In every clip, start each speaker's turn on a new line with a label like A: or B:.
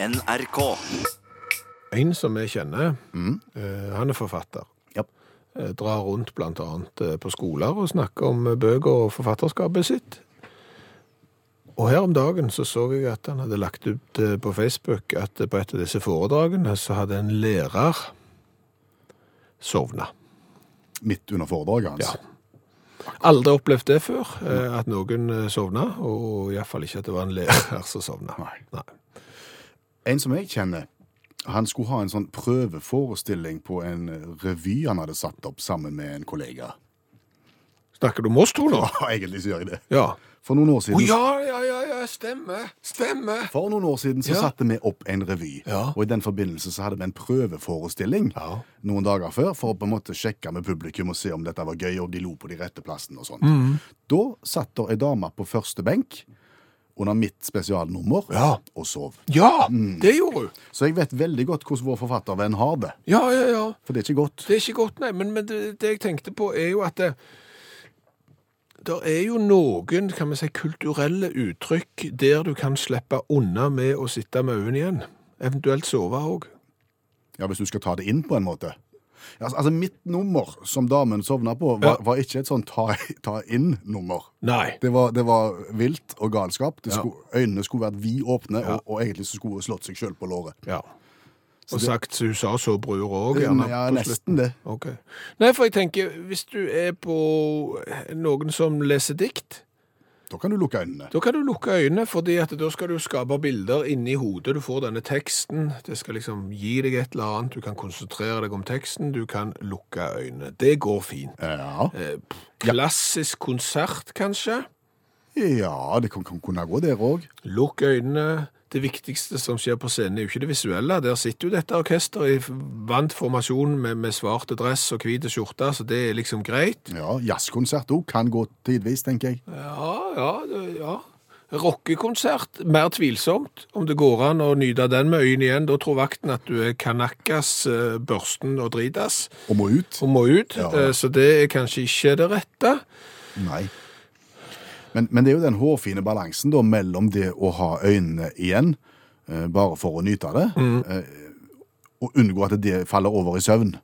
A: NRK.
B: En som jeg kjenner,
C: Mm.
B: eh, han er forfatter.
C: Ja.
B: Eh, Drar rundt blant annet eh, på skoler og snakker om eh, bøker og forfatterskapet sitt. Og her om dagen så så jeg at han hadde lagt ut eh, på Facebook at eh, på et av disse foredragene så hadde en lærer sovna.
C: Midt under foredraget hans.
B: Ja. Aldri opplevd det før, eh, at noen eh, sovna, og iallfall ikke at det var en lærer som sovna.
C: Nei.
B: Nei.
C: En som jeg kjenner, han skulle ha en sånn prøveforestilling på en eh, revy han hadde satt opp sammen med en kollega.
B: Snakker du om oss to nå?
C: Ja, egentlig så gjør jeg det.
B: Ja.
C: For noen år siden,
B: ja, ja, ja, ja, stemmer. Stemmer.
C: for noen år siden så
B: Ja.
C: satte vi opp en revy.
B: Ja.
C: Og i den forbindelse så hadde vi en prøveforestilling
B: Ja.
C: noen dager før for å på en måte sjekke med publikum og se om dette var gøy, og om de lo på de rette plassene og sånt.
B: Mm.
C: Da satt der ei dame på første benk under mitt spesialnummer
B: Ja.
C: og sov.
B: Ja, det gjorde hun.
C: Så jeg vet veldig godt hvordan vår forfattervenn har det.
B: Ja, ja, ja.
C: For det er ikke godt.
B: Det er ikke godt, nei. Men, men det, det jeg tenkte på er jo at det, der er jo noen, kan vi si, kulturelle uttrykk der du kan slippe unna med å sitte med øynene igjen. Eventuelt sove òg.
C: Ja, Hvis du skal ta det inn på en måte. Ja, Altså, altså Mitt nummer som damen sovna på, var,
B: Ja.
C: var ikke et sånn ta, ta inn-nummer.
B: Nei.
C: Det var, det var vilt og galskap. Det
B: Ja.
C: skulle, øynene skulle vært vidåpne,
B: Ja.
C: og, og egentlig så skulle hun slått seg sjøl på låret.
B: Ja. Og sagt USA-såbror òg,
C: Ja,
B: gjerne. på slutten.
C: nesten det.
B: Ok. Nei, for jeg tenker, hvis du er på noen som leser dikt,
C: Da kan du lukke øynene.
B: da kan du lukke øynene, fordi at da skal du skape bilder inni hodet. Du får denne teksten, det skal liksom gi deg et eller annet, du kan konsentrere deg om teksten, du kan lukke øynene. Det går fint.
C: Ja,
B: Eh, pff, Klassisk konsert, kanskje? Eh.
C: ja det kan, kan kunne gå der òg.
B: Lukk øynene. Det viktigste som skjer på scenen, er jo ikke det visuelle. Der sitter jo dette orkesteret i f- vant formasjon med, med svarte dress og hvite skjorter, så det er liksom greit.
C: Ja, Jazzkonsert òg kan gå tidvis, tenker jeg.
B: Ja, ja, det- ja. Rockekonsert, mer tvilsomt. Om det går an å nyte den med øynene igjen, da tror vakten at du er kanakkas, eh, børsten og dritas
C: Og må ut.
B: og må ut.
C: Ja.
B: Eh, Så det er kanskje ikke det rette.
C: Nei. Men, men det er jo den hårfine balansen da, mellom det å ha øynene igjen, eh, bare for å nyte det,
B: Mm.
C: eh, og unngå at det faller over i søvn.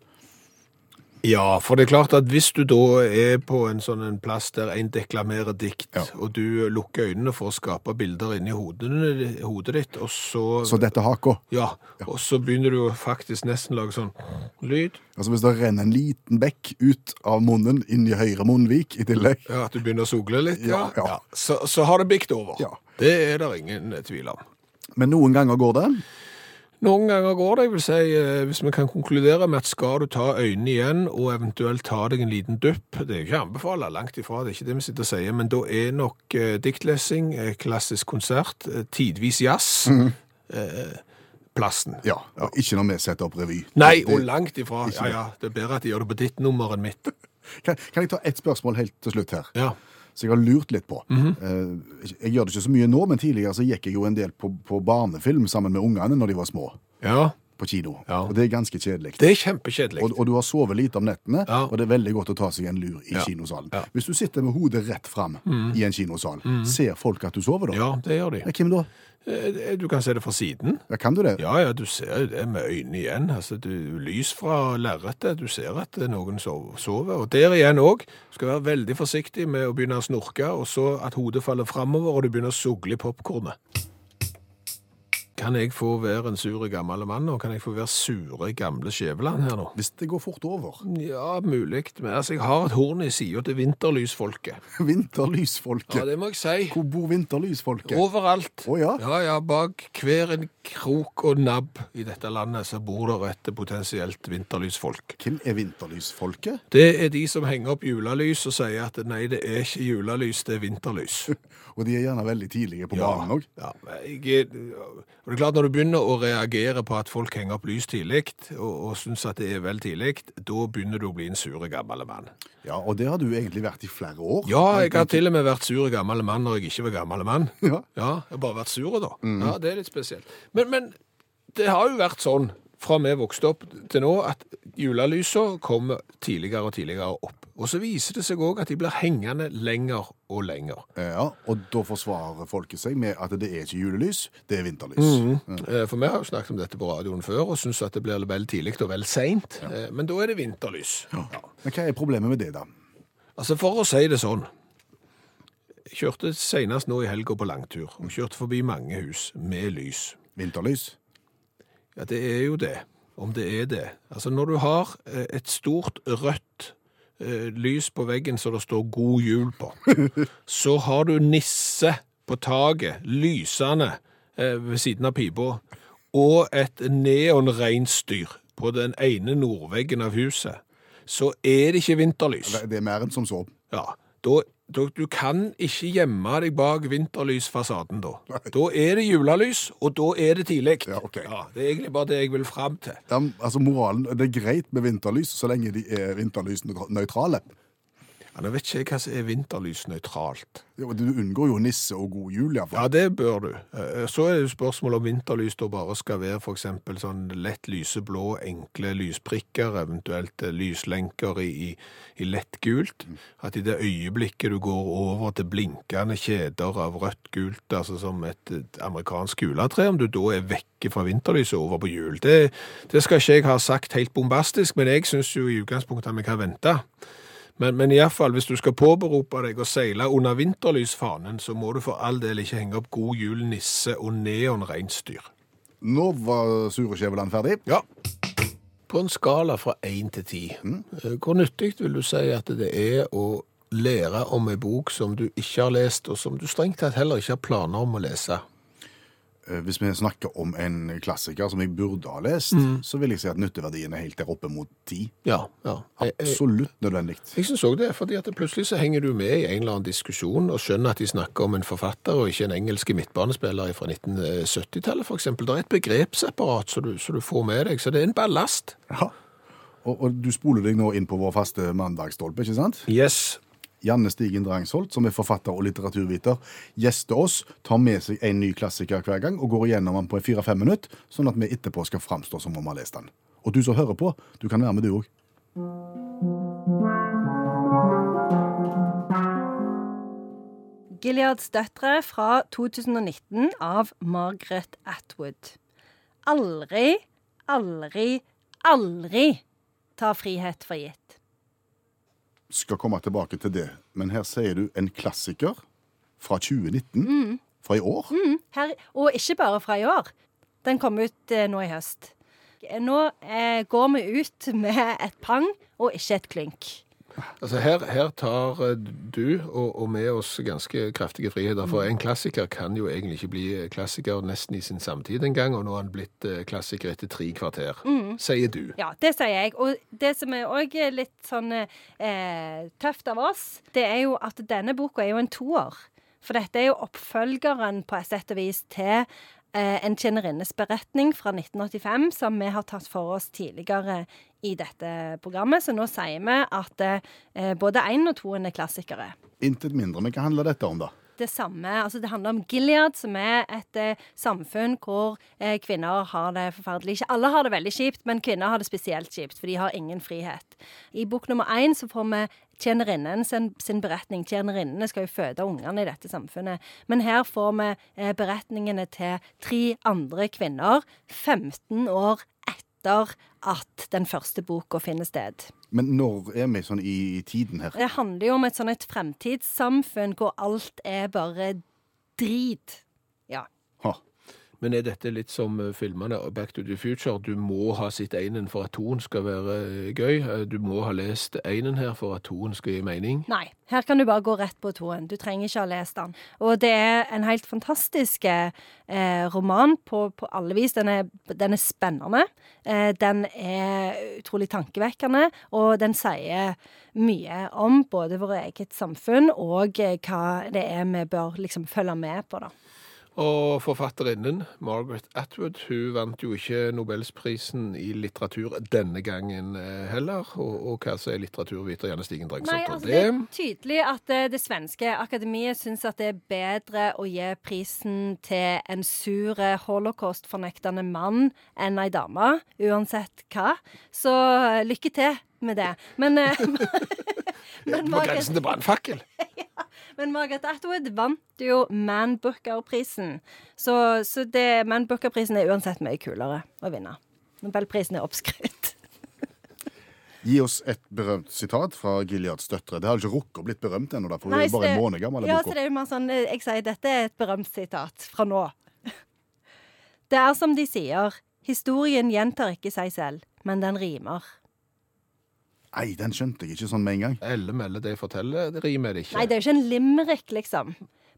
B: Ja, for det er klart at hvis du da er på en sånn en plass der en deklamerer dikt,
C: Ja.
B: og du lukker øynene for å skape bilder inni hodet, hodet ditt, og så,
C: Så dette er haka.
B: ja, og så begynner du jo faktisk nesten å lage sånn lyd,
C: Altså Hvis det renner en liten bekk ut av munnen, inn i høyre munnvik i tillegg
B: ja, at du begynner å sogle litt, ja,
C: Ja, ja.
B: Så, så har det bikt over.
C: Ja.
B: Det er det ingen eh, tvil om.
C: Men noen ganger går det.
B: Noen ganger går det, jeg vil si, eh, hvis vi kan konkludere med at skal du ta øynene igjen og eventuelt ta deg en liten dupp, det er jo ikke anbefalet, langt ifra, det er ikke det vi sitter og sier, men da er nok eh, diktlesing, eh, klassisk konsert, eh, tidvis jazz,
C: Mhm.
B: eh, plassen.
C: Ja, og Ikke når vi setter opp revy.
B: Nei,
C: Det-
B: og langt ifra,
C: Ikke
B: ja ja, det er bedre at de gjør det på ditt nummer enn mitt.
C: kan, kan jeg ta ett spørsmål helt til slutt her?
B: Ja,
C: Så jeg har lurt litt på.
B: Mhm.
C: Eh, Jeg gjør det ikke så mye nå, men tidligere så gikk jeg jo en del på, på barnefilm sammen med ungene når de var små.
B: ja,
C: På kino.
B: Ja.
C: Og det er ganske kjedelig.
B: det er kjempekjedelig.
C: Og, og du har sovet lite om nettene,
B: Ja.
C: og det er veldig godt å ta seg en lur i
B: Ja.
C: kinosalen.
B: Ja. Mm.
C: Hvis du sitter med hodet rett fram i en kinosal, ser folk at du sover da?
B: Ja, det gjør de.
C: Ja, Hvem da?
B: Eh, Du kan se det fra siden.
C: Ja, kan du det?
B: Ja, ja, du ser jo det med øynene igjen. Altså, du, lys fra lerretet, du ser at det er noen sov- sover. Og der igjen òg, skal være veldig forsiktig med å begynne å snorke, og så at hodet faller framover, og du begynner å sugle i popkornet. Kan jeg få være en sure gammel mann, og kan jeg få være sure gamle Skjæveland her nå?
C: Hvis det går fort over.
B: Ja, mulig. Men altså, jeg har et horn i sida til vinterlysfolket.
C: Vinterlysfolket.
B: Ja, det må jeg si.
C: Hvor bor vinterlysfolket? Å
B: Overalt.
C: ja.
B: Ja, ja, bak hver en krok og nabb i dette landet så bor det et potensielt vinterlysfolk.
C: Hvem er vinterlysfolket?
B: Det er de som henger opp julelys og sier at nei, det er ikke julelys, det er vinterlys.
C: Og de er gjerne veldig tidlige på
B: Ja,
C: banen òg.
B: ja, men jeg, og det er klart Når du begynner å reagere på at folk henger opp lys tidlig, og, og syns at det er vel tidlig, da begynner du å bli en sure gammel mann.
C: Ja, og det har du egentlig vært i flere år.
B: Ja, jeg har til og med vært sure gammel mann når jeg ikke var gammel mann.
C: Ja.
B: Ja, jeg har bare vært sur da. Ja, det er litt spesielt. Men, men det har jo vært sånn fra vi vokste opp til nå, at julelysa kommer tidligere og tidligere opp. Og så viser det seg òg at de blir hengende lenger og lenger.
C: Ja, og da forsvarer folket seg med at det er ikke julelys, det er vinterlys.
B: Eh, For vi har jo snakket om dette på radioen før og syns at det blir vel tidlig og vel seint. Eh, Men da er det vinterlys. Ja.
C: Men hva er problemet med det, da?
B: Altså, for å si det sånn Jeg kjørte senest nå i helga på langtur og kjørte forbi mange hus med lys.
C: Vinterlys?
B: Ja, det er jo det. Om det er det. Altså, når du har eh, et stort rødt eh, lys på veggen så det står God jul på, så har du nisse på taket, lysende eh, ved siden av pipa, og et neonreinsdyr på den ene nordveggen av huset, så er det ikke vinterlys.
C: Det er mer enn som så.
B: Ja, da, da, du kan ikke gjemme deg bak vinterlysfasaden da. Da er det julelys, og da er det tidlig.
C: Ja, ok.
B: det er egentlig bare det jeg vil fram til.
C: Ja, altså moralen, Det er greit med vinterlys så lenge de er vinterlysnøytrale.
B: Ja, nå vet ikke jeg hva som er vinterlysnøytralt.
C: Jo, Du unngår jo nisse og god jul, iallfall.
B: Ja, det bør du. Eh, Så er det jo spørsmål om vinterlys da bare skal være for eksempel sånn lett lyseblå, enkle lysprikker, eventuelt eh, lyslenker i, i, i lett gult. At i det øyeblikket du går over til blinkende kjeder av rødt gult, altså som et, et amerikansk juletre, om du da er vekke fra vinterlyset og over på jul. Det, det skal ikke jeg ha sagt helt bombastisk, men jeg synes jo i utgangspunktet at vi kan vente. Men, men iallfall, hvis du skal påberope deg å seile under vinterlysfanen, så må du for all del ikke henge opp God jul, nisse og neonreinsdyr.
C: Nå var Sure Skjæveland ferdig.
B: Ja. På en skala fra én til ti, eh, hvor nyttig vil du si at det er å lære om ei bok som du ikke har lest, og som du strengt tatt heller ikke har planer om å lese?
C: Eh, Hvis vi snakker om en klassiker som jeg burde ha lest, så vil jeg si at nytteverdien er helt der oppe mot ti.
B: Ja. ja. Eh,
C: Eh,
B: Jeg, jeg,
C: Absolutt nødvendig.
B: jeg syns òg det, fordi at plutselig så henger du med i en eller annen diskusjon og skjønner at de snakker om en forfatter og ikke en engelsk midtbanespiller fra 1970-tallet, f.eks. Det er et begrepsapparat som du, som du får med deg, så det er en ballast.
C: Ja. Og, og du spoler deg nå inn på vår faste mandagsstolpe, ikke sant?
B: Yes.
C: Janne Stigen Drangsholt, som er forfatter og litteraturviter, gjester oss, tar med seg en ny klassiker hver gang og går igjennom den på en fire-fem minutter, sånn at vi etterpå skal framstå som om vi har lest den. Og du som hører på, du kan være med du òg.
A: Gileads døtre fra 2019 av Margaret Atwood. Aldri, aldri, aldri ta frihet for gitt.
C: Skal komme tilbake til det, men her sier du en klassiker fra 2019. Fra i år.
A: Her, og ikke bare fra i år. Den kom ut eh, nå i høst. Nå eh, går vi ut med et pang og ikke et klynk.
B: Altså her, her tar eh, du og, og med oss ganske kraftige friheter, for en klassiker kan jo egentlig ikke bli eh, klassiker nesten i sin samtid engang, og nå har han blitt eh, klassiker etter tre kvarter, sier du.
A: Ja, det sier jeg. Og det som er òg litt sånn eh, tøft av oss, det er jo at denne boka er jo en toer. For dette er jo oppfølgeren på et sett og vis til eh, En tjenerinnes beretning fra 1985, som vi har tatt for oss tidligere i dette programmet. Så nå sier vi at eh, både én og toen er klassikere
C: Intet mindre. Men hva handler dette om, da?
A: det samme. Altså, det handler om Gilead, som er et eh, samfunn hvor eh, kvinner har det forferdelig Ikke alle har det veldig kjipt, men kvinner har det spesielt kjipt, for de har ingen frihet. I bok nummer én så får vi tjenerinnen sin, sin beretning. Tjenerinnene skal jo føde ungene i dette samfunnet. Men her får vi eh, beretningene til tre andre kvinner 15 år etter at den første boka finner sted.
C: Men når er vi sånn i, i tiden her?
A: Det handler jo om et sånn et fremtidssamfunn hvor alt er bare drit. Ja.
C: Ha.
B: Men er dette litt som eh, filmene Back to the Future? Du må ha sett einen for at toen skal være eh, gøy. Eh, Du må ha lest einen her for at toen skal gi mening.
A: Nei, her kan du bare gå rett på toen. Du trenger ikke ha lest den. Og det er en helt fantastisk eh, roman på, på alle vis. Den er, den er spennende. Eh, den er utrolig tankevekkende, og den sier mye om både vårt eget samfunn og eh, hva det er vi bør liksom følge med på, da.
B: Og forfatterinnen Margaret Atwood hun vant jo ikke Nobelsprisen i litteratur denne gangen eh, heller. Og, og hva sier litteraturviter Janne Stigen Drangsholt
A: Nei,
B: om
A: altså det er tydelig at eh, det svenske akademiet syns at det er bedre å gi prisen til en sur eh, holocaust-fornektende mann enn ei dame, uansett hva. Så eh, lykke til med det. Men, eh, men
B: På grensen til brannfakkel!
A: men Margaret Atwood vant jo Man Booker-prisen. Så, så det, Man Booker-prisen er uansett mye kulere å vinne. Nobelprisen er oppskrytt.
C: Gi oss et berømt sitat fra Gileads døtre. Det har ikke rukket å blitt berømt ennå, da, for hun
A: Nei,
C: er
A: så
C: bare
A: det-
C: en måned gammel.
A: Ja,
C: den boka.
A: så det er jo mer sånn eh, Jeg sier dette er et berømt sitat fra nå. Det er som de sier, historien gjentar ikke seg selv, men den rimer.
C: Nei, den skjønte jeg ikke sånn med en gang.
B: Elle melder det jeg forteller, det rimer det ikke.
A: Nei, det er jo ikke en limerick, liksom.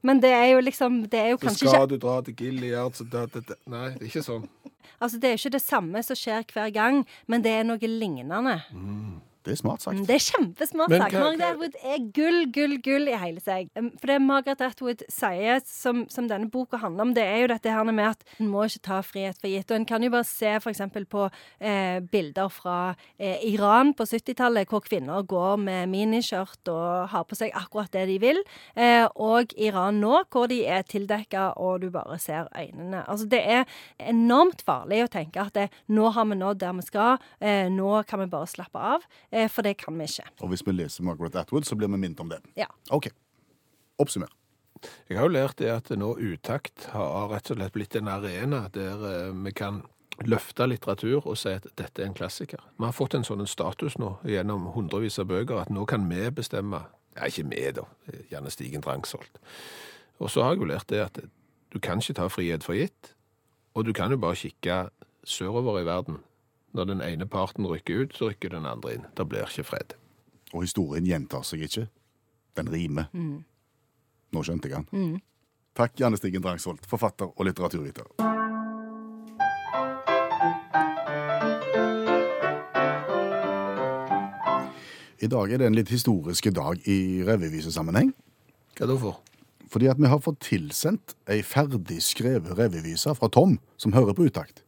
A: Men det er jo liksom Det er jo
B: så
A: kanskje
B: skal
A: ikke
B: du dra til Gilead, så da, da, da. Nei, det er ikke sånn.
A: Altså, det er jo ikke det samme som skjer hver gang, men det er noe lignende.
C: Mm. Det er smart sagt.
A: Mm, Det er kjempesmart
B: Men
A: sagt.
B: hva-
A: Margaret
B: hva-
A: Atwood er gull, gull, gull i hele seg. Um, For det Margaret Atwood sier, som, som denne boka handler om, det er jo dette her med at en må ikke ta frihet for gitt. Og en kan jo bare se f.eks. på eh, bilder fra eh, Iran på 70-tallet, hvor kvinner går med miniskjørt og har på seg akkurat det de vil. Eh, og Iran nå, hvor de er tildekka og du bare ser øynene. Altså, det er enormt farlig å tenke at eh, nå har vi nådd der vi skal, eh, nå kan vi bare slappe av, eh, for det kan vi ikke.
C: Og hvis vi leser Margaret Atwood, så blir vi minnet om det.
A: Ja.
C: OK. Oppsummer.
B: Jeg har jo lært det at nå utakt har rett og slett blitt en arena der eh, vi kan løfte litteratur og si at dette er en klassiker. Vi har fått en sånn status nå gjennom hundrevis av bøker at nå kan vi bestemme. Ja, ikke vi da, Janne Stigen Drangsholt. Og så har jeg jo lært det at du kan ikke ta frihet for gitt, og du kan jo bare kikke sørover i verden. Når den ene parten rykker ut, så rykker den andre inn. Det blir ikke fred.
C: Og historien gjentar seg ikke. Den rimer. Nå skjønte jeg den. Takk, Janne Stigen Drangsholt, forfatter og litteraturviter. I dag er det en litt historiske dag i revyvisesammenheng.
B: Hva da for?
C: Fordi at vi har fått tilsendt ei ferdig skrevet revyvise fra Tom, som hører på utakt.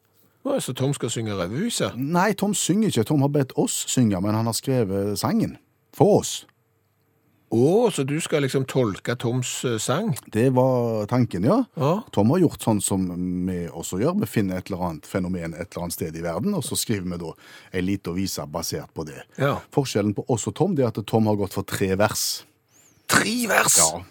B: Nå er så Tom skal synge revyse.
C: Nei, Tom synger ikke. Tom har bedt oss synge, men han har skrevet sangen. For oss.
B: Å, så du skal liksom tolke Toms eh, sang?
C: Det var tanken, ja.
B: Ja.
C: Tom har gjort sånn som vi også gjør. Vi finner et eller annet fenomen et eller annet sted i verden, og så skriver vi da ei lita vise basert på det.
B: Ja.
C: Forskjellen på oss og Tom det er at Tom har gått for tre vers.
B: Tre vers!
C: Ja,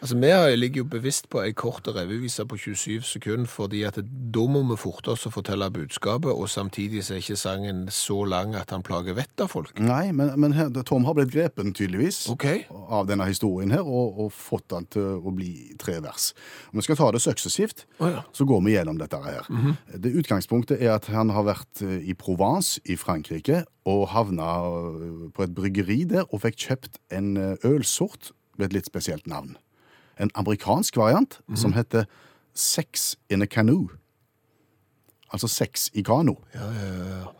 B: Altså, Vi har- ligger jo bevisst på ei kort revyvise på 27 sekunder, fordi at da må vi forte oss å fortelle budskapet, og samtidig så er ikke sangen så lang at han plager vettet av folk.
C: Nei, men, men her, Tom har blitt grepen, tydeligvis.
B: Ok.
C: Av denne historien her, og, og fått den til å bli tre vers. Vi skal ta det suksessivt,
B: Å ja.
C: så går vi gjennom dette her. Det Utgangspunktet er at han har vært eh, i Provence i Frankrike, og havna eh, på et bryggeri der, og fikk kjøpt en eh, ølsort med et litt spesielt navn. En amerikansk variant som heter Sex in a Canoe. Altså sex i kano,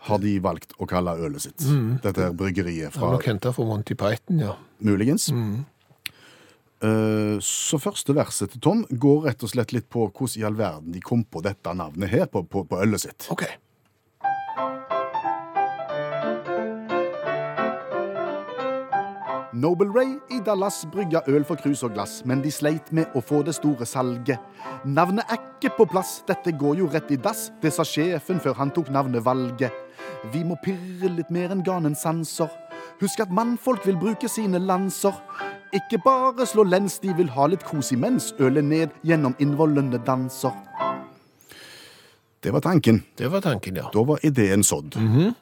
C: har de valgt å kalle ølet sitt. Dette her bryggeriet
B: Han
C: fra
B: er nok henta fra Monty Python, ja.
C: muligens. Eh, Så første verset til Tom går rett og slett litt på hvordan i all verden de kom på dette navnet her på, på, på ølet sitt.
B: OK.
C: Noble Ray i Dallas brygga øl for krus og glass, men de sleit med å få det store salget. Navnet er ikke på plass, dette går jo rett i dass, det sa sjefen før han tok navnevalget. Vi må pirre litt mer enn ganens sanser. Husk at mannfolk vil bruke sine lanser. Ikke bare slå lens, de vil ha litt kos imens ølet ned gjennom innvollende danser. Det var tanken.
B: Det var tanken, ja.
C: Da var ideen sådd.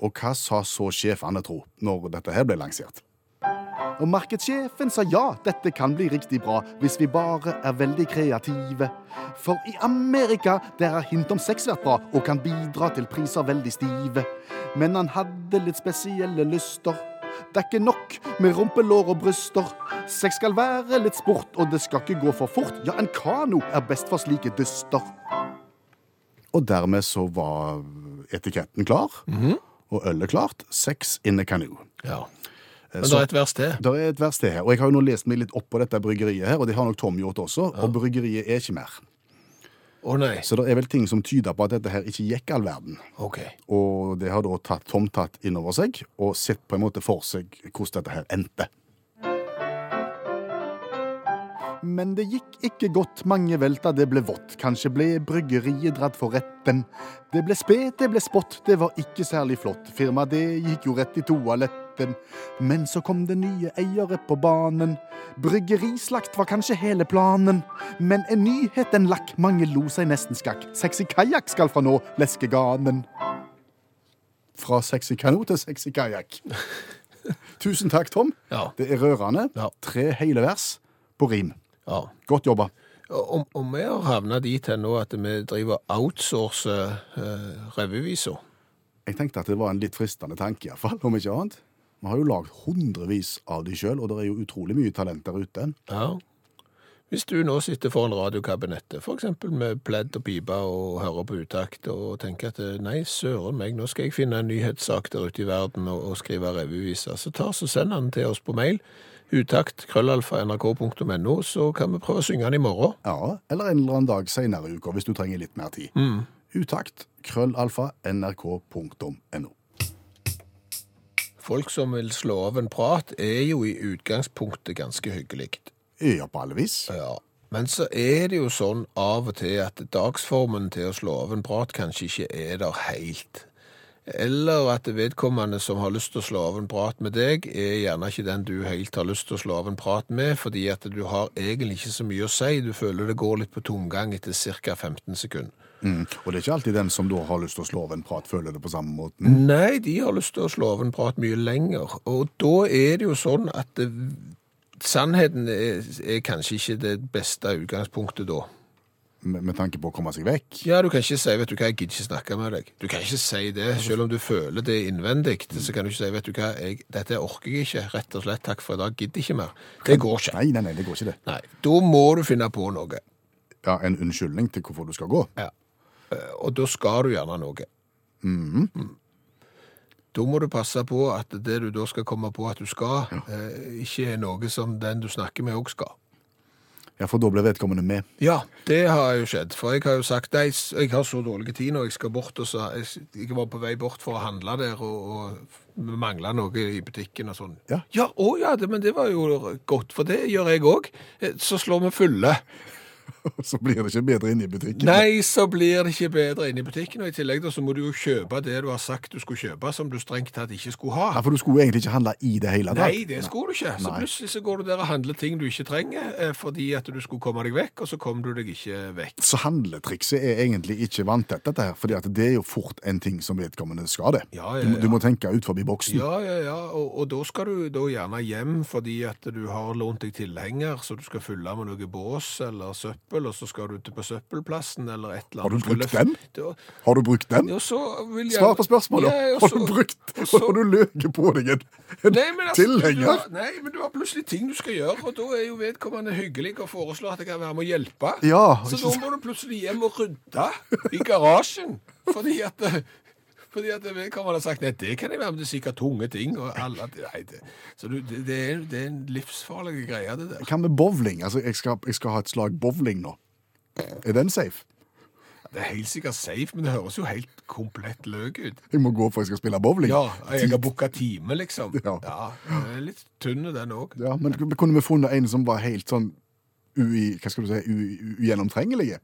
C: Og hva sa så sjefene, tro, når dette her ble lansert? Og markedssjefen sa ja, dette kan bli riktig bra hvis vi bare er veldig kreative. For i Amerika der har hint om sex vært bra og kan bidra til priser veldig stive. Men han hadde litt spesielle lyster. Det er ikke nok med rumpelår og bryster. Sex skal være litt sport, og det skal ikke gå for fort. Ja, en kano er best for slike dyster. Og dermed så var etiketten klar, og ølet klart. Sex in a canoe.
B: ja. Men det er et vers til.
C: Det er et vers til her, og jeg har jo nå lest meg litt opp på dette bryggeriet her, og det har nok Tom gjort også, og bryggeriet er ikke mer.
B: Å nei.
C: Så det er vel ting som tyder på at dette her ikke gikk all verden.
B: OK.
C: Og det har da tatt, Tom tatt inn over seg, og sett på en måte for seg hvordan dette her endte. Men det gikk ikke godt, mange velta, det ble vått, kanskje ble bryggeriet dratt for retten. Det ble spet, det ble spott, det var ikke særlig flott, firmaet det gikk jo rett i toaletten. Men så kom det nye eiere på banen. Bryggerislakt var kanskje hele planen. Men en nyhet den lakk, mange lo seg nesten skakk. Sexy kajakk skal fra nå leske ganen. Fra sexy kano til sexy kajakk. Tusen takk, Tom.
B: Ja.
C: Det er rørende.
B: Ja.
C: Tre hele vers på rim.
B: ja.
C: Godt jobba.
B: Om, om vi har havna dit hen nå at vi driver outsourcer eh, revyviser
C: Jeg tenkte at det var en litt fristende tanke, iallfall, om ikke annet. Vi har jo lagd hundrevis av de sjøl, og det er jo utrolig mye talent der ute.
B: Ja. Hvis du nå sitter foran radiokabinettet, f.eks. med pledd og pipe og hører på utakt, og tenker at nei, søren meg, nå skal jeg finne en nyhetssak der ute i verden og, og skrive revyviser, så ta så send den til oss på mail, utakt, krøllalfa, nrk.no, så kan vi prøve å synge den i morgen.
C: Ja, eller en eller annen dag seinere i uka, hvis du trenger litt mer tid.
B: Mm.
C: Utakt. Krøllalfa. nrk.no.
B: Folk som vil slå av en prat, er jo i utgangspunktet ganske hyggelig.
C: Ja, på alle vis.
B: Ja. Men så er det jo sånn av og til at dagsformen til å slå av en prat kanskje ikke er der helt. Eller at vedkommende som har lyst til å slå av en prat med deg, er gjerne ikke den du helt har lyst til å slå av en prat med, fordi at du har egentlig ikke så mye å si. Du føler det går litt på tomgang etter ca. 15 sekunder.
C: Mm. Og det er ikke alltid den som da har lyst til å slå av en prat, føler det på samme måten.
B: Nei, de har lyst til å slå av en prat mye lenger. Og da er det jo sånn at det, sannheten er, er kanskje ikke det beste utgangspunktet da. Mm.
C: Med, med tanke på å komme seg vekk.
B: Ja, du kan ikke si, vet du hva, jeg gidder ikke snakke med deg. Du kan ikke si det, selv om du føler det innvendig, så kan du ikke si, vet du hva, jeg, dette orker jeg ikke, rett og slett, takk for i dag, gidder ikke mer. Det går ikke.
C: Nei, nei, nei, det går ikke det.
B: Nei, da må du finne på noe.
C: Ja, En unnskyldning til hvorfor du skal gå.
B: Ja. Eh, Og da skal du gjerne noe.
C: Mhm.
B: Mm. Da må du passe på at det du da skal komme på at du skal, eh, ikke er noe som den du snakker med også skal.
C: Ja, For da blir vedkommende med.
B: Ja, det har jo skjedd. For jeg har jo sagt nei, s- jeg har så dårlig tid når jeg skal bort. og så, jeg, s- jeg var på vei bort for å handle der og, og mangla noe i butikken og sånn.
C: Ja.
B: ja, å ja, det, men det var jo godt, for det gjør jeg òg. Så slår vi fulle.
C: Så blir det ikke bedre inne i butikken.
B: Nei, så blir det ikke bedre inne i butikken. Og i tillegg da, så må du jo kjøpe det du har sagt du skulle kjøpe, som du strengt tatt ikke skulle ha.
C: Ja, For du skulle jo egentlig ikke handle i det hele tatt.
B: Nei, det skulle du ikke. Så
C: Nei.
B: plutselig så går du der og handler ting du ikke trenger, eh, fordi at du skulle komme deg vekk, og så kom du deg ikke vekk.
C: Så handletrikset er egentlig ikke vanntett, dette her, fordi at det er jo fort en ting som vedkommende skal det.
B: Ja, ja,
C: Du, må-
B: ja.
C: du må tenke ut forbi boksen.
B: Ja, ja, ja, og, og da skal du da gjerne hjem fordi at du har lånt deg tilhenger, så du skal fylle med noe bås eller søppel, og så skal du til på søppelplassen eller et eller
C: Har du
B: annet.
C: brukt
B: skal løfte-
C: den?
B: Da,
C: Har du brukt den?
B: og så vil jeg...
C: Svar på spørsmålet!
B: Ja, og
C: har
B: så-
C: du brukt
B: og så-
C: Har du løket på deg en, en
B: Nei, men altså, du
C: tilhenger?
B: har, nei, men du har plutselig ting du skal gjøre, og da er jo vedkommende hyggelig og foreslår at jeg kan være med å hjelpe.
C: Ja,
B: så
C: ikke
B: da må du plutselig hjem og rydde i garasjen, fordi at, fordi at vedkommende har sagt, nei, det kan jeg være med, det er sikkert tunge ting, og alle, nei, det, så du, det, det, er, det er en livsfarlig greie det der.
C: Hva med bowling? Altså, jeg skal, jeg skal ha et slag bowling nå. Er den safe?
B: Det er helt sikkert safe, men det høres jo helt komplett løk ut.
C: Jeg må gå for jeg skal spille bowling.
B: Ja, jeg har boket time, liksom.
C: Ja.
B: Ja, det er litt tynne den også.
C: Ja, men kunne vi funnet en som var helt sånn ui, hva skal du si, u- ugjennomtrengelige?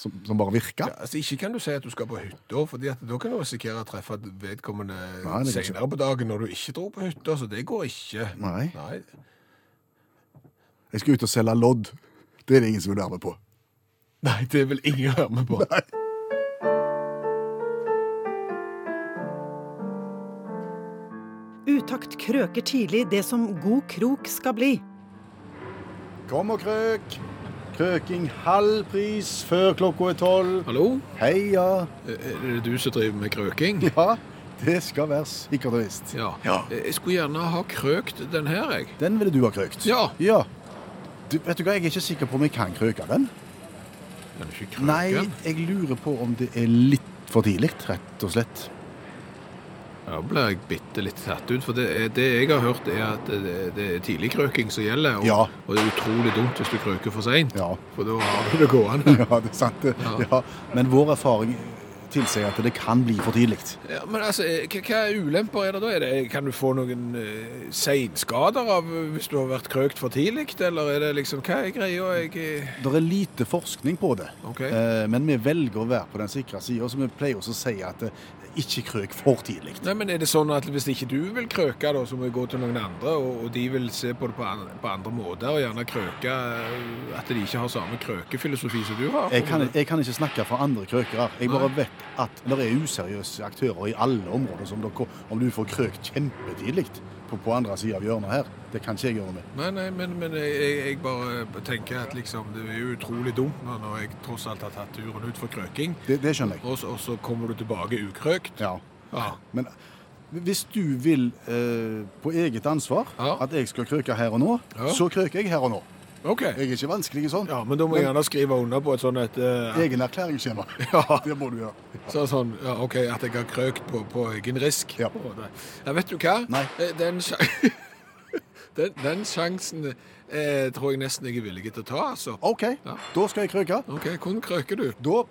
C: Som, som bare virka?
B: Altså, ikke kan du si at du skal på hytta, fordi at da kan du risikere å treffe at vedkommende
C: Nei, det kan
B: senere på dagen når du ikke dro på hytta, så det går ikke.
C: Nei.
B: Nei.
C: Jeg skal ut og selge lodd. Det er det ingen som vil være med på.
B: Nei, det vil ingen være med på.
D: Utakt krøker tidlig det som god krok skal bli.
C: Kom og krøk! Krøking halv pris før klokka er tolv.
B: Hallo? Eh,
C: Heia!
B: Er det du som driver med krøking?
C: Ja, det skal være sikkert og visst.
B: Ja. Eh,
C: Ja.
B: Jeg skulle gjerne ha krøkt den her, jeg.
C: Den ville du ha krøkt?
B: Ja.
C: ja. Du, vet du hva, jeg er ikke sikker på om jeg kan krøke den.
B: Kan du ikke krøke
C: Nei,
B: den?
C: jeg lurer på om det er litt for tidlig, rett og slett.
B: Ja, Da blir jeg bitte litt tatt ut, for det, er- det jeg har hørt er at eh, det, det er tidligkrøking som gjelder, og,
C: Ja.
B: og det er utrolig dumt hvis du krøker for seint,
C: Ja.
B: for da har du det gående.
C: Ja, det er sant. det. Ja. Men vår erfaring tilsier at det kan bli for tidlig.
B: Ja, men altså, eh, hva, hva ulemper er det da? Er det, kan du få noen eh, seinskader av eh, hvis du har vært krøkt for tidlig, eller er det liksom Hva er greia? Jeg, eh,
C: Det er lite forskning på det,
B: Ok.
C: Eh, men vi velger å være på den sikre sida. Så vi pleier også å si at eh, ikke krøk for tidlig.
B: Nei, men Er det sånn at hvis ikke du vil krøke, da, så må du gå til noen andre, og, og de vil se på det på, an, på andre måter, og gjerne krøke eh, At de ikke har samme krøkefilosofi som du har?
C: Jeg kan, jeg kan ikke snakke for andre krøkere. Jeg bare vet at det er useriøse aktører i alle områder. som dere, Om du får krøkt kjempetidlig på, på andre sida av hjørnet her, det kan ikke jeg gjøre noe med.
B: Nei, nei, men, men jeg, jeg bare tenker at liksom, det er jo utrolig dumt når når jeg tross alt har tatt turen ut for krøking,
C: Det, det skjønner jeg.
B: og, så- og så kommer du tilbake ukrøkt.
C: Ja.
B: Ja.
C: Men hvis du vil eh, på eget ansvar
B: Ja.
C: at jeg skal krøke her og nå,
B: Ja.
C: så krøker jeg her og nå.
B: OK.
C: Jeg er ikke vanskelig sånn.
B: Ja, men da må jeg gjerne skrive under på et sånt et eh,
C: Egen erklæringsskjema. Det må du gjøre.
B: så, sånn, ja, OK, at jeg har krøkt på, på egen risk.
C: Ja.
B: Å, nei. ja. Vet du hva?
C: Nei.
B: Eh, Den, sja- den, den sjansen eh, tror jeg nesten jeg er villig til å ta, altså.
C: OK,
B: Ja.
C: da skal jeg krøke.
B: OK, hvordan krøker du?
C: Da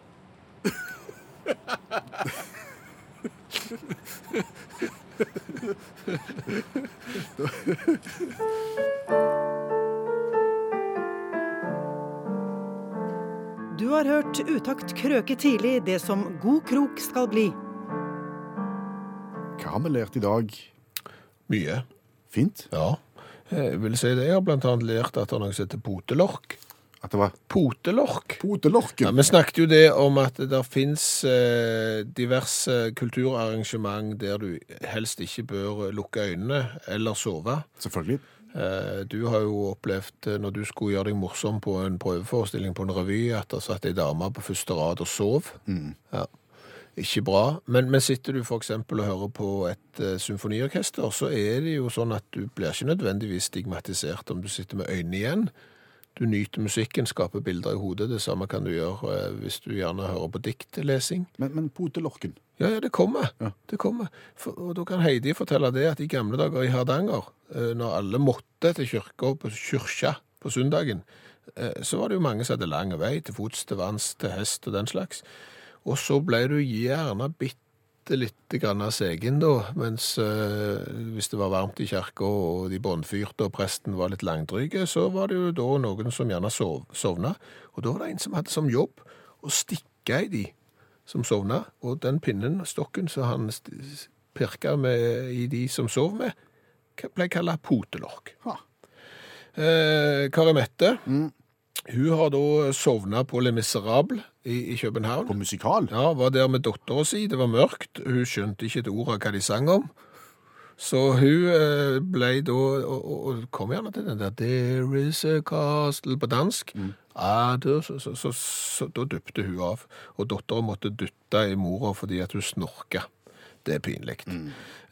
D: Du har hørt Utakt krøke tidlig det som god krok skal bli.
C: Hva har vi lært i dag?
B: Mye.
C: Fint.
B: Ja. Eh, Jeg vil si det. Jeg har blant annet lært at det er noe som heter potelork.
C: At det var
B: Potelork. Ja,
C: potelorken.
B: Vi snakket jo det om at det fins eh, diverse kulturarrangement der du helst ikke bør lukke øynene eller sove.
C: Selvfølgelig.
B: Eh, du har jo opplevd, eh, når du skulle gjøre deg morsom på en prøveforestilling på en revy, at det satt ei dame på første rad og sov. Ja. Ikke bra. Men, men sitter du f.eks. og hører på et eh, symfoniorkester, så er det jo sånn at du blir ikke nødvendigvis stigmatisert om du sitter med øynene igjen. Du nyter musikken, skaper bilder i hodet. Det samme kan du gjøre eh, hvis du gjerne hører på diktlesing.
C: Men, men potelorken
B: Ja, ja, det kommer.
C: Ja.
B: Det kommer. For, og da kan Heidi fortelle det at i gamle dager i Hardanger, eh, når alle måtte til kirka på kyrkja på søndagen, eh, så var det jo mange som hadde lang vei til fots, til vanns, til hest og den slags. Og så ble du gjerne bitte lite grann av segen da, mens eh, hvis det var varmt i kirka og de båndfyrte og presten var litt langdryge, så var det jo da noen som gjerne sov, sovna. Og da var det en som hadde som jobb å stikke i de som sovna, og den pinnen, stokken, som han st- pirka med i de som sov med, k- ble kalla potelork.
C: Ha.
B: Eh, Kari Mette hun har da sovna på Le Miserable i, i
C: på
B: København.
C: musikal.
B: Ja, Var der med dattera si. Det var mørkt. Hun skjønte ikke et ord av hva de sang om. Så hun eh, ble da og, og, og kom gjerne til den der 'There is a castle' på dansk. Ah, da, så, så, så, så, da dupte hun av. Og dattera måtte dytte i mora fordi at hun snorka. Det er pinlig.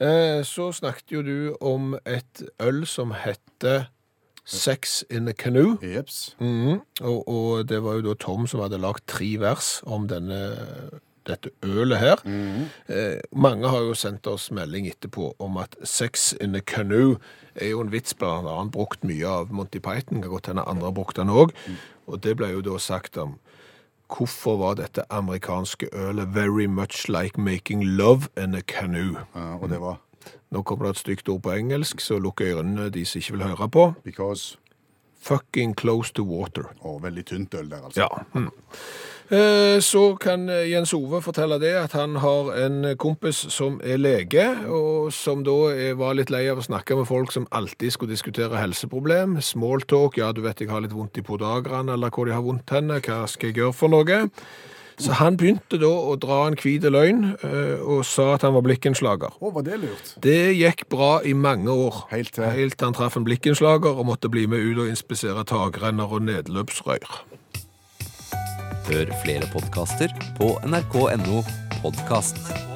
B: Eh, så snakket jo du om et øl som heter Sex in a Canoe.
C: Jeps.
B: Mhm, og, og det var jo da Tom som hadde lagt tre vers om denne, dette ølet her. Eh, mange har jo sendt oss melding etterpå om at sex in a canoe er jo en vits blant annet brukt mye av Monty Python, kan godt hende andre har brukt den òg. Og det ble jo da sagt om hvorfor var dette amerikanske ølet very much like making love in a canoe.
C: Ja, Eh, og det var
B: Nå kommer det et stygt ord på engelsk, så lukk ørene de som ikke vil høre på.
C: because
B: Fucking close to water.
C: Å, veldig tynt øl der, altså.
B: Ja. Mm. Eh, Så kan Jens Ove fortelle det at han har en kompis som er lege, og som da er- var litt lei av å snakke med folk som alltid skulle diskutere helseproblem. Smalltalk, ja du vet jeg har litt vondt i podagrene, eller hvor de har vondt henne, hva skal jeg gjøre for noe? Så han begynte da å dra en hvit løgn, eh, og sa at han var blikkenslager.
C: Å, var det lurt?
B: Det gikk bra i mange år.
C: Helt til-
B: Helt til han traff en blikkenslager og måtte bli med ut og inspisere takrenner og nedløpsrør.
E: Hør flere podkaster på nrk.no podkast.